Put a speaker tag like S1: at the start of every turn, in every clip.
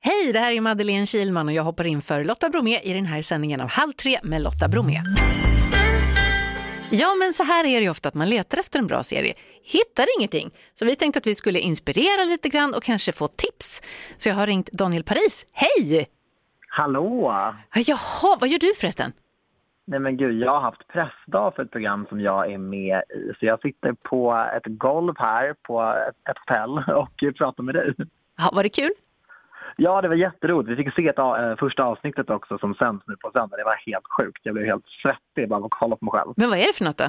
S1: Hej, det här är Madeleine Kilman och jag hoppar in för Lotta Bromé i den här sändningen av Halv tre med Lotta Bromé. Ja, men så här är det ju ofta att man letar efter en bra serie, hittar ingenting. Så vi tänkte att vi skulle inspirera lite grann och kanske få tips. Så jag har ringt Daniel Paris. Hej!
S2: Hallå!
S1: Ja, Jaha, vad gör du förresten?
S2: Nej men gud, jag har haft pressdag för ett program som jag är med i. Så jag sitter på ett golv här på ett- ett hotell och pratar med dig.
S1: Ja, var det kul?
S2: Ja, det var jätteroligt. Vi fick se ett, a- eh, första avsnittet också som sänds nu på söndag. Det var helt sjukt. Jag blev helt svettig bara av att kolla på mig själv.
S1: Men vad är det för något då?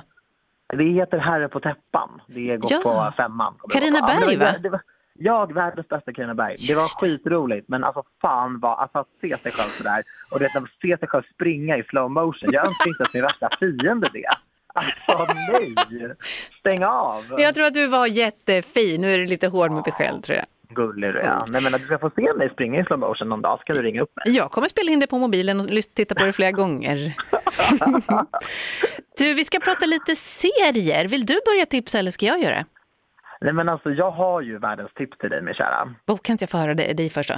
S2: Det heter Herre på täppan. Det går
S1: Ja.
S2: på femman.
S1: Carina
S2: Ja, det
S1: Berg,
S2: var-
S1: va?
S2: det var- Ja, världens bästa Carina Berg. Det var skitroligt, men alltså fan vad, alltså att se sig själv sådär och det att se sig själv springa i slow motion. Jag önskar inte att min värsta fiende det. Alltså nej! Stäng av!
S1: Jag tror att du var jättefin. Nu är du lite hård mot dig själv tror jag.
S2: Gullig du är. Nej men att du ska få se mig springa i slow motion någon dag ska du ringa upp mig.
S1: Jag kommer spela in det på mobilen och lys- titta på det flera gånger. du, vi ska prata lite serier. Vill du börja tipsa eller ska jag göra det?
S2: Nej men alltså jag har ju världens tips till dig min kära.
S1: Oh, kan inte jag få höra dig, dig först då?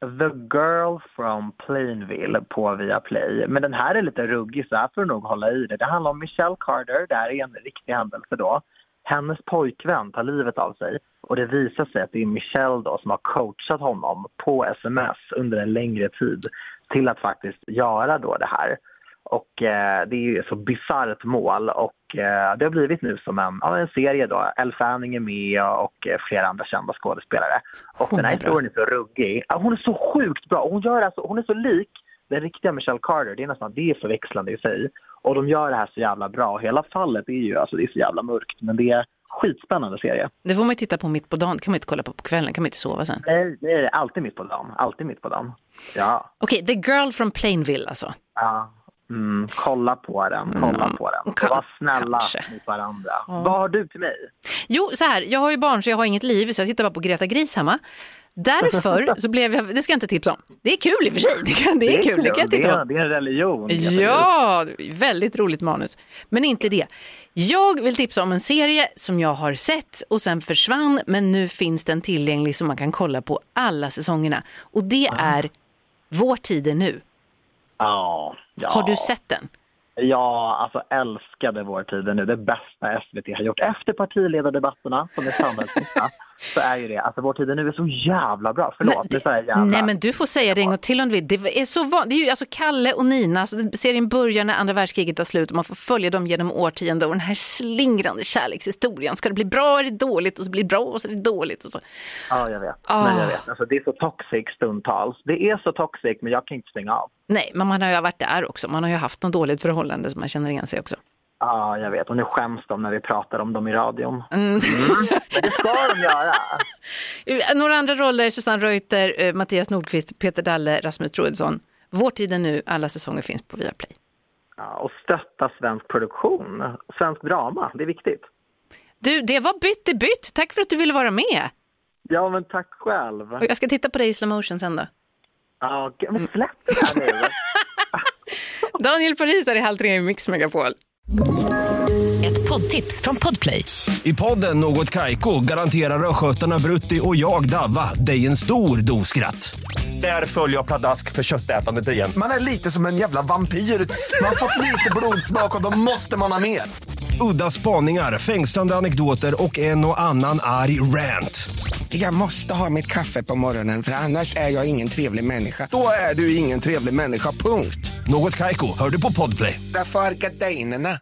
S2: The Girl from Plainville på Viaplay. Men den här är lite ruggig så här får du nog hålla i det. Det handlar om Michelle Carter, det här är en riktig händelse då. Hennes pojkvän tar livet av sig och det visar sig att det är Michelle då som har coachat honom på sms under en längre tid till att faktiskt göra då det här. Och eh, det är ju ett så bisarrt mål och eh, det har blivit nu som en, ja, en serie då. Elle Fanning är med och eh, flera andra kända skådespelare. Och
S1: Hon
S2: den här
S1: är bra.
S2: historien är så ruggig. Ja, Hon är så sjukt bra. Hon, gör alltså, hon är så lik den riktiga Michelle Carter. Det är nästan det är förväxlande i sig. Och de gör det här så jävla bra. Hela fallet är ju alltså, det är så jävla mörkt men det är skitspännande serie.
S1: Det får man ju titta på mitt på dagen. Det kan man inte kolla på på kvällen. kan man inte sova sen.
S2: Nej, det är alltid mitt på dagen. Alltid mitt på dagen. Ja.
S1: Okej, The Girl from Plainville alltså.
S2: ja. Mm, kolla på den, kolla
S1: Mm,
S2: på den.
S1: kan-
S2: Var snälla
S1: kanske.
S2: mot varandra. Vad har du till mig?
S1: Jo, så här, jag har ju barn så jag har inget liv så jag tittar bara på Greta Gris hemma. Därför så blev jag, det ska jag inte tipsa om. Det är kul i och för sig, det, kan, det, är, kul, det kan jag
S2: Det
S1: titta
S2: är,
S1: på.
S2: det är en religion.
S1: Ja, väldigt roligt manus. Men inte det. Jag vill tipsa om en serie som jag har sett och sen försvann men nu finns den tillgänglig som man kan kolla på alla säsongerna. Och det är Vår tid är nu.
S2: Ja, ja.
S1: Har du sett den?
S2: Ja, alltså älskade vår tid nu. Det bästa SVT har gjort efter partiledardebatterna som är samhällsnytta. så är ju det. Alltså vår tid nu är så jävla bra. Förlåt,
S1: Men
S2: nu
S1: det-
S2: sa jag jävla.
S1: Nej men du får säga det en gång till om du vill. Det är, så van... det är ju alltså Kalle och Nina, alltså, serien börjar när andra världskriget tar slut och man får följa dem genom årtionden och den här slingrande kärlekshistorien. Ska det bli bra är det dåligt och så blir det bra och så är det dåligt. Och så.
S2: Ja, jag vet.
S1: Ah.
S2: Men jag vet. Alltså, det är så toxic stundtals. Det är så toxic, men jag kan inte stänga av.
S1: Nej, men man har ju varit där också. Man har ju haft något dåligt förhållande som man känner igen sig också.
S2: Ja, jag vet. Och nu skäms de när vi pratar om dem i radion. Men det ska de göra.
S1: Eh, Några andra roller, Susanne Reuter, eh, Mattias Nordqvist, Peter Dalle, Rasmus Troedsson. Vår tid är nu, alla säsonger finns på Viaplay.
S2: Ja, och stötta svensk produktion. Svensk drama, det är viktigt.
S1: Du, det var bytt i bytt. Tack för att du ville vara med.
S2: Ja, men tack själv.
S1: Och jag ska titta på dig i slow motion sen då.
S2: Ja, gud, men släpp det här nu.
S1: Daniel Paris är i Halv tre i Mix Megapol.
S3: Ett poddtips från Podplay.
S4: I podden Något Kaiko garanterar östgötarna Brutti och jag, Davva, dig en stor dos skratt. Där följer jag pladask för köttätandet igen.
S5: Man är lite som en jävla vampyr. Man har fått lite blodsmak och då måste man ha mer.
S4: Udda spaningar, fängslande anekdoter och en och annan arg rant.
S5: Jag måste ha mitt kaffe på morgonen för annars är jag ingen trevlig människa. Då är du ingen trevlig människa, punkt.
S4: Något Kaiko, hör du på Podplay.
S5: Därför arkadeinerna.